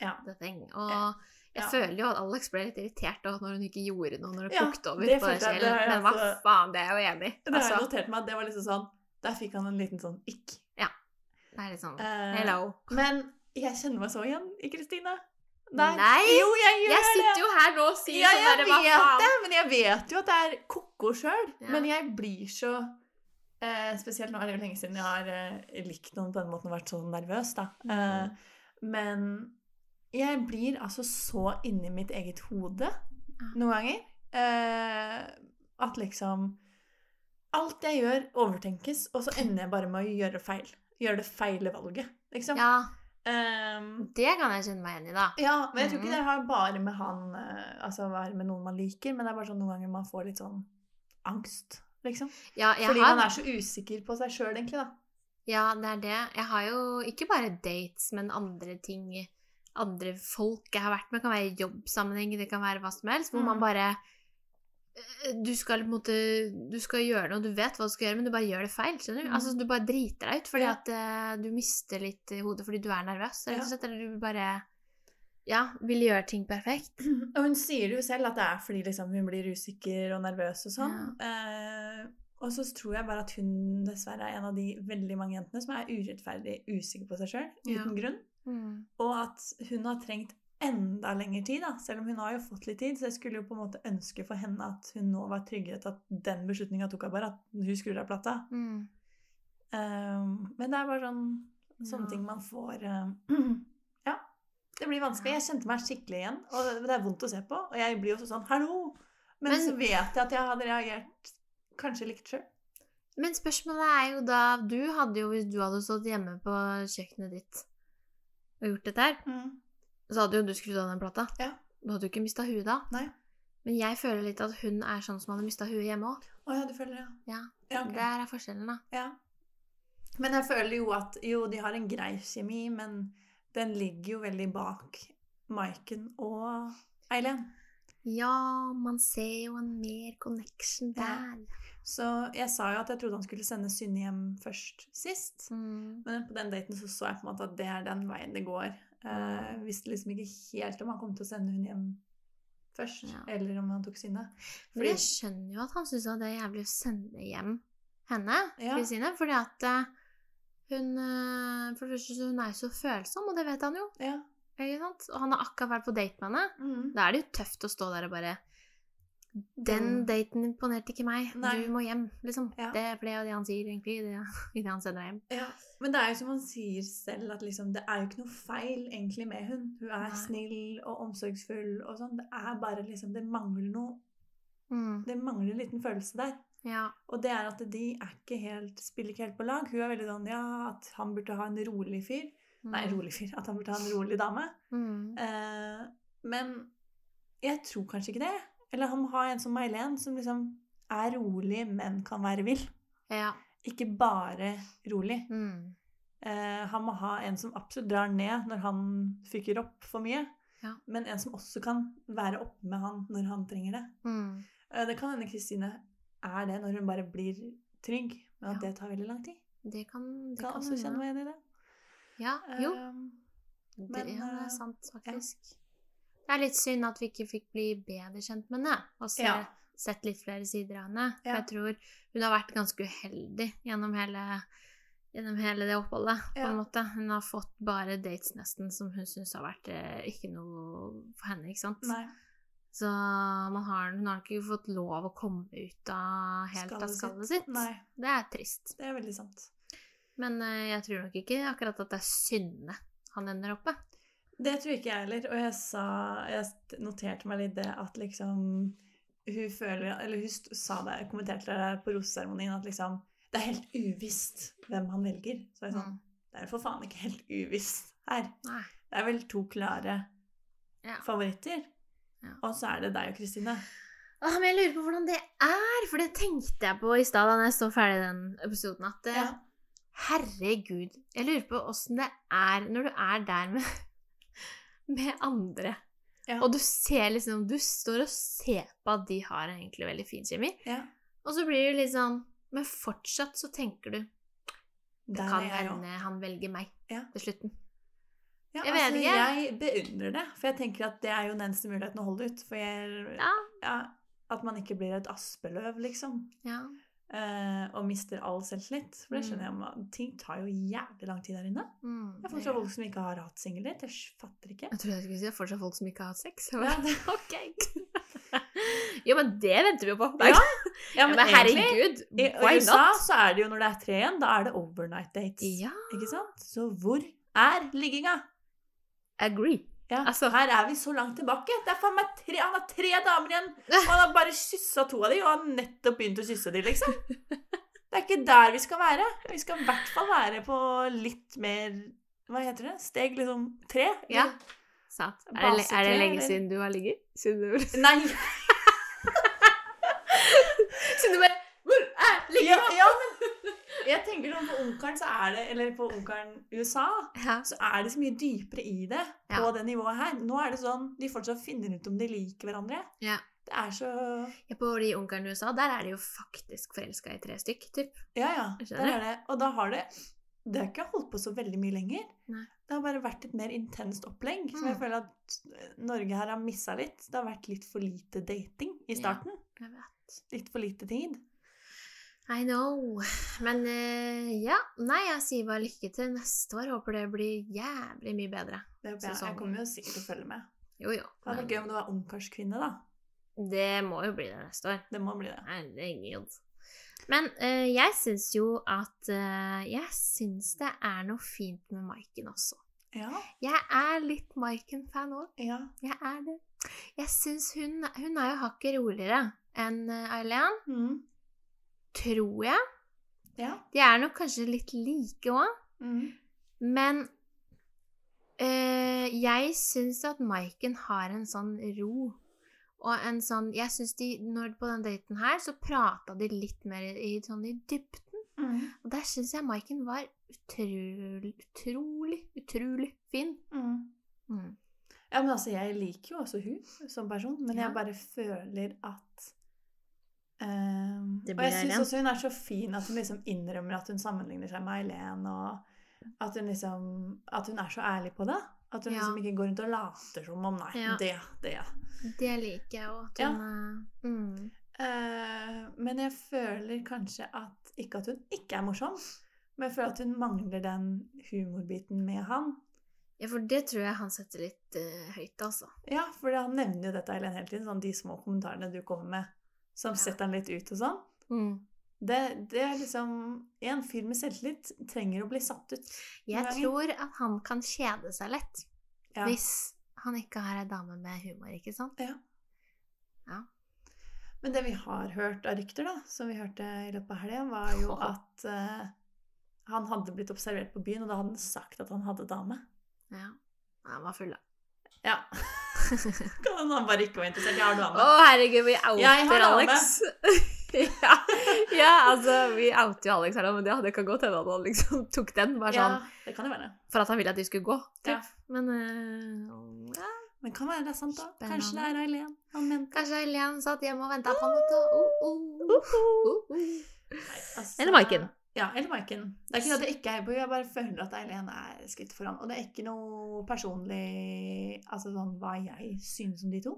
A: Ja.
B: the thing. Og
A: Ja.
B: jeg
A: Ja.
B: føler jo at Alex ble litt irritert da, når hun ikke gjorde noe når det
A: Ja,
B: kokte over
A: det
B: på
A: følte
B: deg
A: jeg, det er
B: selv. Men hva
A: altså-
B: faen, det er jeg jo enig i.
A: Det har jeg
B: Altså,
A: notert meg at det var liksom sånn Der fikk han en liten sånn ikk.
B: det er litt sånn
A: Eh,
B: Hello.
A: Men jeg kjenner meg så igjen i Kristine.
B: Nei,
A: Jo, jeg gjør
B: Jeg
A: det!
B: sitter jo her nå og sier
A: Ja,
B: sånn
A: jeg
B: derre Hva
A: vet det,
B: faen?
A: men jeg vet jo at det er ko-ko sjøl.
B: Ja.
A: Men jeg blir så eh, Spesielt nå er det jo lenge siden jeg har eh, likt noen på den måten og vært så nervøs, da. Eh, men jeg blir altså så inni mitt eget hode noen ganger eh, at liksom Alt jeg gjør, overtenkes, og så ender jeg bare med å gjøre feil. Gjøre det feile valget, liksom.
B: Ja,
A: Ehm,
B: det kan jeg kjenne meg igjen i, da.
A: ja, men jeg tror ikke
B: Mhm.
A: det har bare med han eh, Altså være med noen man liker, men det er bare sånn noen ganger man får litt sånn angst, liksom.
B: Ja, jeg
A: Fordi
B: har
A: man er så usikker på seg sjøl, egentlig, da.
B: Ja, det er det. Jeg har jo ikke bare dates, men andre ting. Andre folk jeg har vært med. Det kan være i jobbsammenheng, det kan være hva som helst. Hvor
A: Mm.
B: man bare eh, du skal, på en måte, du skal gjøre noe, du vet hva du skal gjøre, men du bare gjør det feil. skjønner du?
A: Mm.
B: Altså, Du bare driter deg ut fordi
A: Ja.
B: at eh, du mister litt i hodet fordi du er nervøs.
A: Ja.
B: rett og slett, Eller du bare ja, vil gjøre ting perfekt.
A: Og hun sier jo selv at det er fordi liksom, hun blir usikker og nervøs og sånn. Eh, og så tror jeg bare at hun dessverre er en av de veldig mange jentene som er urettferdig usikker på seg sjøl,
B: Ja.
A: uten grunn. Og at hun har trengt enda lengre tid, da. selv om hun har jo fått litt tid. Så jeg skulle jo på en måte ønske for henne at hun nå var tryggere til at den beslutninga tok hun bare, at hun skrur av plata.
B: Mm.
A: Ehm, men det er bare sånn, sånne
B: Ja.
A: ting man får eh, Ja. Det blir vanskelig. Jeg kjente meg skikkelig igjen, og det- det er vondt å se på. Og jeg blir jo også sånn Hallo! Men,
B: Men-
A: så vet jeg at jeg hadde reagert kanskje likt sjøl.
B: Men spørsmålet er jo da Du hadde jo, hvis du hadde stått hjemme på kjøkkenet ditt og gjort dette her, så hadde jo du skrudd av den plata.
A: Ja.
B: Du hadde jo ikke mista huet da.
A: Nei.
B: Men jeg føler litt at hun er sånn som hadde mista huet hjemme òg.
A: Å ja, du føler det?
B: Ja.
A: Ja, ok.
B: Der er forskjellen, da.
A: ja. Men jeg føler jo at Jo, de har en grei kjemi, men den ligger jo veldig bak Maiken og Eileen.
B: Ja, man ser jo en mer connection
A: Ja.
B: der.
A: Så jeg sa jo at jeg trodde han skulle sende Synne hjem først sist.
B: Mm.
A: Men på den daten så, så jeg på en måte at det er den veien det går. Eh, visste liksom ikke helt om han kom til å sende hun hjem først,
B: Ja.
A: eller om han tok Synne.
B: For jeg skjønner jo at han syns det er jævlig å sende hjem henne,
A: Ja.
B: Kristine. Fordi at eh, hun eh, For det første, så hun er jo så følsom, og det vet han jo.
A: Ja.
B: Ikke sant? Og han har akkurat vært på date med henne.
A: Mm.
B: Da er det jo tøft å stå der og bare Den
A: Mm.
B: daten imponerte ikke meg.
A: Nei.
B: Du må hjem, liksom.
A: Ja.
B: Det er for det er jo det han sier, egentlig. i Det, i det han sender deg hjem.
A: Ja, Men det er jo som han sier selv, at liksom, det er jo ikke noe feil egentlig med hun. Hun er
B: Nei.
A: snill og omsorgsfull og sånn. Det er bare liksom Det mangler noe.
B: Mm.
A: Det mangler en liten følelse der.
B: Ja.
A: Og det er at de er ikke helt, spiller ikke helt på lag. Hun er veldig sånn ja, at han burde ha en rolig fyr.
B: Mm.
A: Nei, rolig fyr. At han burde ha en rolig dame.
B: Mm.
A: Eh, men jeg tror kanskje ikke det. Eller han må ha en som May-Len, som liksom er rolig, men kan være vill.
B: Ja.
A: Ikke bare rolig.
B: Mm.
A: Eh, han må ha en som absolutt drar ned når han fyker opp for mye.
B: Ja.
A: Men en som også kan være oppe med han når han trenger det.
B: Mm.
A: Eh, det kan hende Kristine er det når hun bare blir trygg, men at
B: Ja.
A: det tar veldig lang tid.
B: Det kan, det
A: Kan
B: kan
A: også kjenne
B: hende.
A: meg igjen i det.
B: Ja, jo.
A: Eh,
B: det,
A: men,
B: ja, det
A: eh,
B: er sant, faktisk. Det er litt synd at vi ikke fikk bli bedre kjent med henne. Og se,
A: Ja.
B: sett litt flere sider av henne. For
A: Ja.
B: jeg tror hun har vært ganske uheldig gjennom hele, gjennom hele det oppholdet. på
A: Ja.
B: en måte. Hun har fått bare dates nesten som hun syns har vært eh, ikke noe for henne. ikke sant?
A: Nei.
B: Så man har, hun har ikke fått lov å komme ut av helt
A: Skallet
B: av
A: sitt.
B: skallet sitt.
A: Nei,
B: Det er trist.
A: det er veldig sant.
B: Men eh, jeg tror nok ikke akkurat at det er synde han ender opp med.
A: Det tror ikke jeg heller. Og jeg, sa, jeg noterte meg litt det at liksom Hun føler Eller hun st- sa det, kommenterte det på roseseremonien at liksom Det er helt uvisst hvem han velger. Så jeg sånn
B: Mm.
A: Det er for faen ikke helt uvisst her.
B: Sånn, Nei.
A: Det er vel to klare
B: Ja.
A: favoritter.
B: Ja.
A: Og så er det deg og Kristine.
B: Åh, Ah, men jeg lurer på hvordan det er, for det tenkte jeg på i stad da jeg så ferdig den episoden, at eh,
A: Ja.
B: herregud, jeg lurer på åssen det er når du er der med, med andre.
A: Ja.
B: Og du ser liksom Du står og ser på at de har egentlig veldig fin kjemi,
A: Ja.
B: og så blir du litt sånn Men fortsatt så tenker du Det
A: Der
B: kan
A: er jeg òg.
B: hende han velger meg
A: Ja.
B: til slutten.
A: Ja,
B: Jeg vet
A: altså,
B: ikke.
A: Jeg beundrer det, for jeg tenker at det er jo den eneste muligheten å holde ut. For jeg,
B: Ja.
A: At man ikke blir et aspeløv, liksom.
B: Ja.
A: eh, og mister all selvtillit. For det skjønner jeg
B: Mm.
A: om Ting tar jo jævlig lang tid der inne.
B: Mm,
A: Jeg har fått
B: det-
A: fra folk som ikke har hatt singellett. Jeg s- fatter ikke.
B: Jeg trodde jeg skulle si det er fortsatt folk som ikke har hatt sex. Jeg
A: Ja,
B: bare, ok. jo, men det venter vi jo på.
A: Ja,
B: Ja, men, herregud,
A: i
B: why
A: USA
B: not?
A: så er det jo når det er tre igjen, da er det overnight dates.
B: Ja,
A: Ikke sant? Så hvor er ligginga?
B: agree.
A: Ja,
B: Altså-
A: her er vi så langt tilbake. Det er faen meg tre, Han har tre damer igjen! Og han har bare kyssa to av de, og han har nettopp begynt å kysse de, liksom. Det er ikke der vi skal være. Vi skal i hvert fall være på litt mer Hva heter det? Steg liksom tre?
B: Ja, sant. Er det, le- er det
A: Basetre,
B: lenge
A: eller?
B: siden du har ligget? Siden du,
A: Nei,
B: siden du bare Hvor er
A: ja,
B: ligget?
A: ja, men jeg tenker sånn på Ungkaren så er det Eller på Ungkaren USA
B: Ja.
A: så er det så mye dypere i det på
B: Ja.
A: det nivået her. Nå er det sånn de fortsatt finner ut om de liker hverandre.
B: Ja.
A: Det er så
B: Ja, På de ungarene i USA, der er de jo faktisk forelska i tre stykk, typ.
A: Ja, ja.
B: Jeg
A: Der
B: skjønner.
A: er det. Og da har det Det har ikke holdt på så veldig mye lenger.
B: Nei.
A: Det har bare vært et mer intenst opplegg, som jeg
B: Mm.
A: føler at eh, Norge her har missa litt. Det har vært litt for lite dating i
B: Ja.
A: starten.
B: Jeg vet.
A: Litt for lite tid.
B: I know. Men eh, ja. Nei, jeg sier bare lykke til neste år. Håper det blir jævlig mye bedre.
A: Det håper jeg.
B: Sesongen.
A: Jeg kommer jo sikkert til å følge med.
B: Jo, jo.
A: Det hadde vært gøy om det var ungkarskvinne, da.
B: Det må jo bli det neste år.
A: Det må bli det.
B: Herregud. Men eh, jeg syns jo at eh, Jeg syns det er noe fint med Maiken også.
A: Ja.
B: Jeg er litt Maiken-fan òg.
A: Ja.
B: Jeg er det. Jeg syns hun, hun er jo hakket roligere enn eh, Eileen,
A: Mm.
B: tror jeg.
A: Ja.
B: De er nok kanskje litt like òg,
A: Mm.
B: men eh, jeg syns at Maiken har en sånn ro. Og en sånn Jeg syns de når På den daten her så prata de litt mer i, sånn i dybden.
A: Mm.
B: Og der syns jeg Maiken var utrolig, utrolig, utrolig fin.
A: Mm. Ja, men altså, jeg liker jo også hun som person, men
B: Ja.
A: jeg bare føler at ehm,
B: Det
A: Og jeg
B: blir
A: syns
B: Eileen.
A: også hun er så fin at hun liksom innrømmer at hun sammenligner seg med Eileen, og at hun liksom At hun er så ærlig på det. At hun
B: Ja.
A: liksom ikke går rundt og later som om Nei,
B: Ja.
A: det, det.
B: Det liker jeg òg.
A: Ja.
B: Mm.
A: Eh, men jeg føler kanskje at Ikke at hun ikke er morsom, men jeg føler at hun mangler den humorbiten med han.
B: Ja, for det tror jeg han setter litt eh, høyt, altså.
A: Ja, for han nevner jo dette Eileen hele tiden, sånn de små kommentarene du kommer med som
B: Ja.
A: setter han litt ut og sånn.
B: Mm.
A: Det, det er liksom En fyr med selvtillit trenger å bli satt ut.
B: Jeg
A: Mange-
B: tror at han kan kjede seg lett
A: Ja.
B: hvis han ikke har ei dame med humor, ikke sant?
A: Men det vi har hørt av rykter, da, som vi hørte i løpet av helga, var jo at eh, han hadde blitt observert på byen, og da hadde han sagt at han hadde dame.
B: Ja. Han var full, da.
A: Ja. Kan hende han bare ikke var interessert. Jeg har
B: Å,
A: dame.
B: herregud, vi
A: Jeg har
B: outer
A: dame.
B: Alex! ja. ja, altså, vi outer jo Alex her nå, men det hadde kan godt hende at han liksom tok den, bare
A: Ja,
B: sånn
A: det kan jo være.
B: for at han ville at de skulle gå. Typ.
A: Ja.
B: Men eh, ja.
A: Men kan være det er sant, da.
B: Spennende.
A: Kanskje det er Eileen han mente.
B: Kanskje Helen satt hjemme og venta på han, vet du. Oh, oh.
A: Nei,
B: Oh, oh.
A: altså-
B: Eller Maiken.
A: Ja, eller Maiken. Det er ikke det at jeg ikke heier på henne, jeg bare føler at Eileen er skritt foran. Og det er ikke noe personlig Altså sånn hva jeg synes om de to.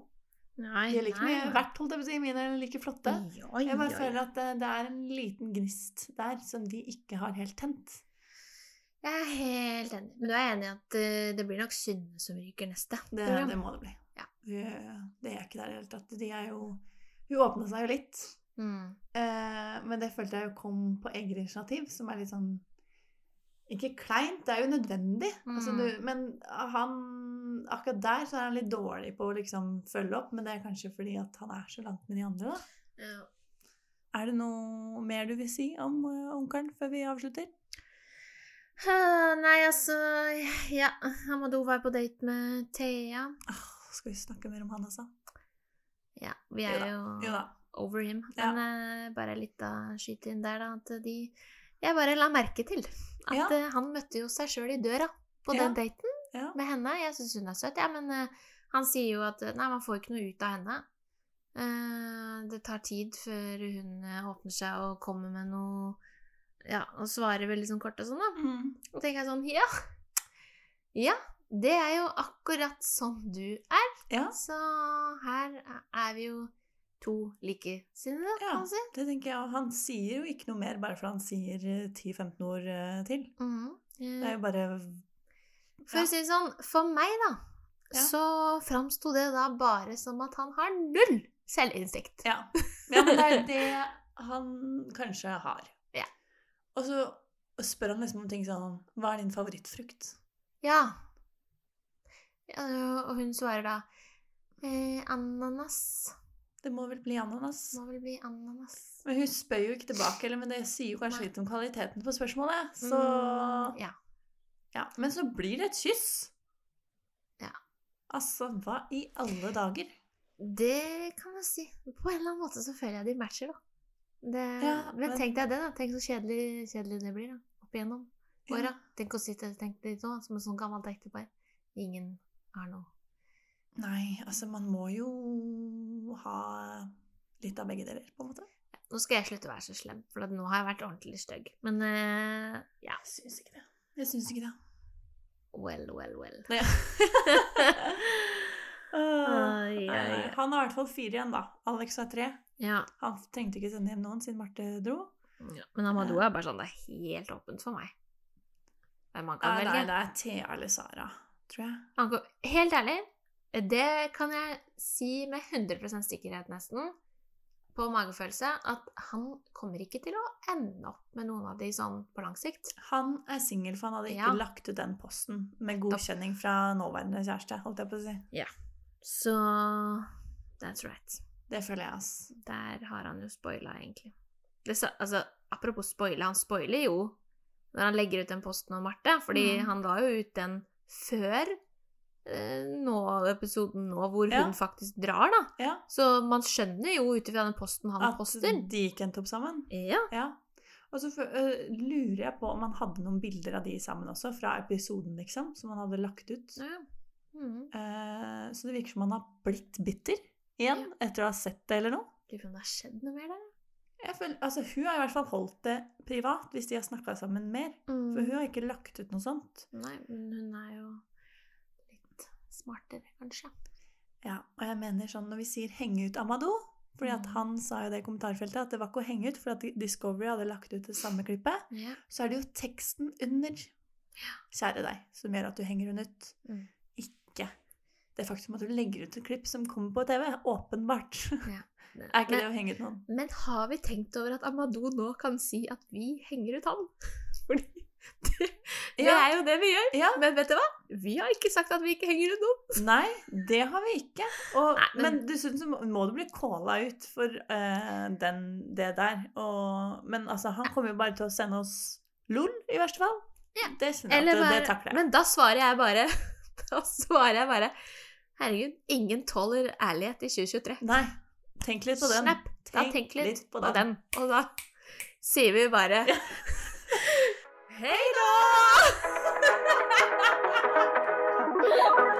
B: Nei,
A: De er like
B: nei,
A: mye
B: nei.
A: verdt, holdt jeg på å si. Mine er like flotte.
B: Oi,
A: Jeg bare
B: oi,
A: føler at det, det er en liten gnist der som de ikke har helt tent.
B: Jeg er helt enig. Men du er enig i at eh, det blir nok Synne som ryker neste?
A: Det,
B: program?
A: det må det bli.
B: Ja.
A: Eh, Det er ikke der i det hele tatt. De er jo Hun åpna seg jo litt,
B: Mm.
A: eh, men det følte jeg jo kom på eget initiativ, som er litt sånn Ikke kleint, det er jo nødvendig. Altså,
B: Mm.
A: du, men han Akkurat der så er han litt dårlig på å liksom følge opp, men det er kanskje fordi at han er så langt med de andre, da.
B: Ja.
A: Er det noe mer du vil si om eh, onkelen før vi avslutter?
B: Eh, Nei, altså Ja, Amadou var på date med Thea.
A: Åh, skal vi snakke mer om han, altså?
B: Ja, vi er jo
A: Jo da.
B: over him.
A: Ja.
B: Men eh, bare litt av skyte inn der, da, at de Jeg bare la merke til at
A: Ja.
B: eh, han møtte jo seg sjøl i døra på den daten
A: Ja.
B: med henne. Jeg syns hun er søt, jeg, ja, men eh, han sier jo at eh, nei, man får ikke noe ut av henne. Eh, det tar tid før hun eh, åpner seg og kommer med noe Ja, og svarer veldig sånn kort og sånn, da.
A: Mm.
B: Og tenker jeg sånn Ja! Ja, det er jo akkurat sånn du er.
A: Ja.
B: Så her er vi jo to likesinnede,
A: Ja.
B: kan man si.
A: Det tenker jeg, og Han sier jo ikke noe mer bare fordi han sier eh, 10-15 ord eh, til.
B: Mhm.
A: Det er
B: Eh,
A: jo bare
B: For å si det sånn, for meg, da,
A: Ja.
B: så framsto det da bare som at han har null selvinnsikt.
A: Ja. ja men det er det han kanskje har.
B: Ja.
A: Og så spør han liksom om ting sånn Hva er din favorittfrukt?
B: Ja. ja og hun svarer da eh, Ananas.
A: Det må vel bli ananas.
B: Må vel bli ananas.
A: Men hun spør jo ikke tilbake, eller, men det sier jo kanskje
B: Nei.
A: litt om kvaliteten på spørsmålet. Så
B: Mm, ja.
A: ja. Men så blir det et kyss.
B: Ja.
A: Altså, hva i alle dager?
B: Det kan man si. På en eller annen måte så føler jeg de matcher, da. Det,
A: Ja,
B: men,
A: men-
B: tenk deg det, da. Tenk så kjedelig, kjedelig det blir, da. Opp igjennom
A: Ja.
B: åra. Tenk å sitte og tenke litt nå, som et sånt gammelt ektepar. Ingen har noe.
A: Nei, altså, man må jo ha litt av begge deler, på en måte.
B: Nå skal jeg slutte å være så slem, for at nå har jeg vært ordentlig stygg. Men eh, ja.
A: Jeg syns ikke det. Jeg syns ikke det.
B: Well, well, well.
A: Ja. Åh,
B: Oi, oi,
A: Ah, nei, nei.
B: oi.
A: Han har i hvert fall fire igjen, da. Alex har tre.
B: Ja.
A: Han trengte ikke sende hjem noen siden Marte dro.
B: Men Amadou er bare sånn Det er helt åpent for meg. Hvem man kan
A: Nei, nei,
B: velge.
A: det er Thea eller Sara, tror jeg.
B: Han kom- Helt ærlig, det kan jeg si med 100 sikkerhet nesten, på magefølelse, at han kommer ikke til å ende opp med noen av de sånn på lang sikt.
A: Han er singel, for han hadde ikke
B: Ja.
A: lagt ut den posten med godkjenning fra nåværende kjæreste. holdt jeg på å si.
B: Så that's right.
A: Det føler jeg, ass.
B: Der har han jo spoila, egentlig. Det, sa- altså, apropos spoile, han spoiler jo når han legger ut den posten om Marte, fordi
A: Mm.
B: han la jo ut den før eh, nå, episoden nå, hvor
A: Ja.
B: hun faktisk drar, da.
A: Ja,
B: Så man skjønner jo ut ifra den posten han
A: At
B: poster.
A: de gikk en topp sammen.
B: Ja.
A: Ja. Og så fø- øh, lurer jeg på om han hadde noen bilder av de sammen også, fra episoden, liksom, som han hadde lagt ut.
B: ja. Mm.
A: Eh, så det virker som han har blitt bitter igjen etter å ha sett det eller noe.
B: Lurer på om det har skjedd noe mer der?
A: Jeg føler, altså, hun har i hvert fall holdt det privat hvis de har snakka sammen mer.
B: Mm.
A: For hun har ikke lagt ut noe sånt.
B: Nei, men hun er jo litt smartere, kanskje.
A: Ja, og jeg mener sånn når vi sier 'henge ut Amadou' fordi at
B: Mm.
A: han sa jo det i kommentarfeltet at det var ikke å henge ut, for at Discovery hadde lagt ut det samme klippet.
B: Ja.
A: Så er det jo teksten under, kjære deg, som gjør at du henger henne ut.
B: Mm.
A: Ikke det faktum at du legger ut et klipp som kommer på TV. Åpenbart. Er ikke
B: men,
A: det å henge ut noen?
B: men har vi tenkt over at Amadou nå kan si at vi henger ut han? Fordi det, det
A: Ja.
B: er jo det vi gjør.
A: Ja.
B: Men vet du hva? Vi har ikke sagt at vi ikke henger ut noen.
A: Nei, det har vi ikke. Og,
B: Nei,
A: men
B: men-
A: dessuten så må, må du bli calla ut for eh, den, det der. Og, men altså, han kommer jo bare til å sende oss LOL, i verste fall.
B: Ja.
A: Det kjenner jeg at det, det
B: bare-
A: takler jeg.
B: Men da svarer jeg bare Da svarer jeg bare Herregud, ingen tåler ærlighet i 2023.
A: Nei, tenk litt på den.
B: Snap, da tenk litt,
A: på
B: Og den. Og da sier vi bare Hei da!